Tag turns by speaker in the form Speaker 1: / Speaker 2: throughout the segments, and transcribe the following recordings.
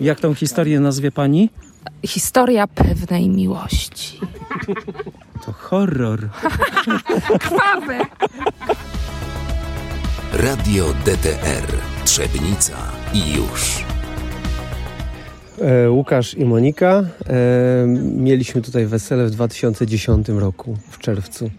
Speaker 1: Jak tą historię nazwie pani?
Speaker 2: Historia pewnej miłości.
Speaker 1: To horror.
Speaker 2: Krwawe!
Speaker 3: Radio DTR Trzebnica i już.
Speaker 4: E, Łukasz i Monika. E, mieliśmy tutaj wesele w 2010 roku, w czerwcu,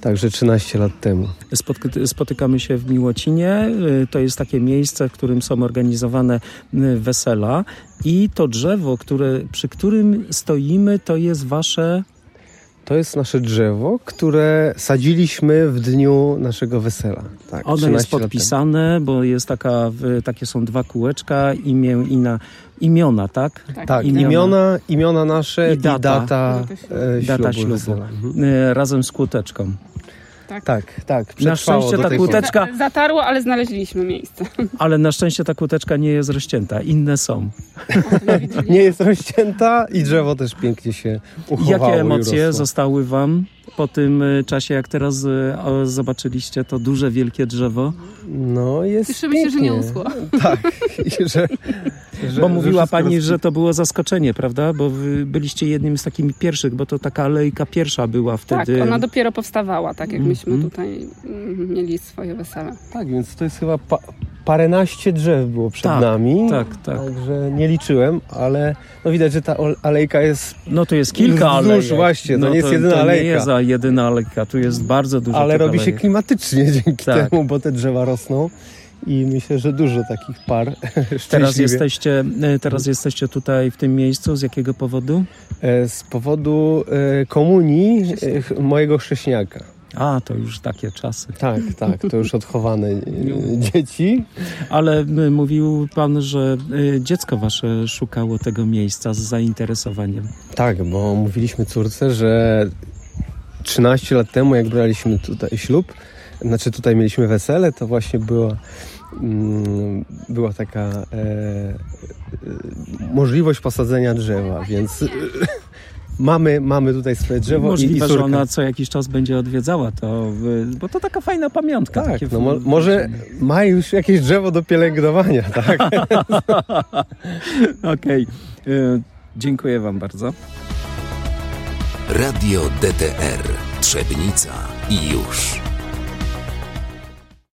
Speaker 4: także 13 lat temu.
Speaker 1: Spotk- spotykamy się w Miłocinie. Y, To jest takie miejsce, w którym są organizowane y, wesela. I to drzewo, które, przy którym stoimy, to jest wasze.
Speaker 4: To jest nasze drzewo, które sadziliśmy w dniu naszego wesela. Tak,
Speaker 1: Ono
Speaker 4: 13
Speaker 1: jest
Speaker 4: lat temu.
Speaker 1: podpisane, bo jest taka, y, takie są dwa kółeczka, imię, ina, imiona, tak?
Speaker 4: Tak,
Speaker 1: Imiona.
Speaker 4: imiona, imiona, nasze
Speaker 1: I
Speaker 4: i
Speaker 1: data.
Speaker 4: data, data, e, ślubu.
Speaker 1: Data ślubu.
Speaker 4: wesela. Mhm.
Speaker 1: Y, Razem z kłóteczką.
Speaker 4: Tak, tak.
Speaker 1: Na
Speaker 4: przetrwało
Speaker 1: szczęście
Speaker 4: do
Speaker 1: ta
Speaker 4: tej pory.
Speaker 1: kłóteczka,
Speaker 5: Za- Zatarło, ale znaleźliśmy miejsce.
Speaker 1: ale na szczęście ta kłóteczka nie jest rozcięta. Inne są.
Speaker 4: Nie jest rozcięta i drzewo też pięknie się uchowało
Speaker 1: Jakie
Speaker 4: i
Speaker 1: emocje
Speaker 4: rosło.
Speaker 1: zostały wam po tym y, czasie, jak teraz y, o, zobaczyliście to duże, wielkie drzewo?
Speaker 4: No jest
Speaker 5: Cieszymy się, że nie
Speaker 4: pięknie.
Speaker 5: uschło.
Speaker 4: Tak, i że, że,
Speaker 1: Bo mówiła
Speaker 4: wszystko
Speaker 1: pani,
Speaker 4: roz-
Speaker 1: że to było zaskoczenie, prawda? Bo wy byliście jednym z takich pierwszych, bo to taka alejka pierwsza była
Speaker 5: Tak,
Speaker 1: wtedy.
Speaker 5: ona dopiero powstawała, tak jak myśmy
Speaker 1: Mhm.
Speaker 5: tutaj mm, mieli swoje wesele.
Speaker 4: Tak, więc to jest chyba pa, paręnaście drzew było przed
Speaker 1: Tak,
Speaker 4: nami.
Speaker 1: tak, tak.
Speaker 4: Także nie liczyłem, ale no widać, że ta ol- alejka jest.
Speaker 1: No to jest kilka
Speaker 4: Wzdłuż
Speaker 1: alejek. No
Speaker 4: właśnie, to nie jest jedyna
Speaker 1: to
Speaker 4: alejka.
Speaker 1: nie jest za jedyna alejka, tu jest bardzo dużo
Speaker 4: ale
Speaker 1: tych
Speaker 4: robi się
Speaker 1: alejek.
Speaker 4: klimatycznie dzięki
Speaker 1: Tak.
Speaker 4: temu, bo te drzewa rosną. I myślę, że dużo takich par.
Speaker 1: Teraz
Speaker 4: szczęśliwie.
Speaker 1: jesteście, y, teraz jesteście tutaj w tym miejscu, z jakiego powodu?
Speaker 4: E, Z powodu e, komunii e, ch- mojego chrześniaka.
Speaker 1: A, to już takie czasy.
Speaker 4: Tak, tak, to już odchowane e,
Speaker 1: No.
Speaker 4: dzieci.
Speaker 1: Ale y, mówił pan, że y, dziecko wasze szukało tego miejsca z zainteresowaniem.
Speaker 4: Tak, bo mówiliśmy córce, że 13 lat temu, jak braliśmy tutaj ślub, znaczy tutaj mieliśmy wesele, to właśnie była, mm, była taka e, e, możliwość posadzenia drzewa, więc e, mamy, mamy tutaj swoje drzewo i, i
Speaker 1: Możliwe, że
Speaker 4: córka.
Speaker 1: ona co jakiś czas będzie odwiedzała to, y, bo to taka fajna pamiątka.
Speaker 4: Tak,
Speaker 1: takie
Speaker 4: no
Speaker 1: w-
Speaker 4: mo- może ma już jakieś drzewo do pielęgnowania, tak?
Speaker 1: Okej, y, dziękuję wam bardzo.
Speaker 3: Radio DTR Trzebnica i już.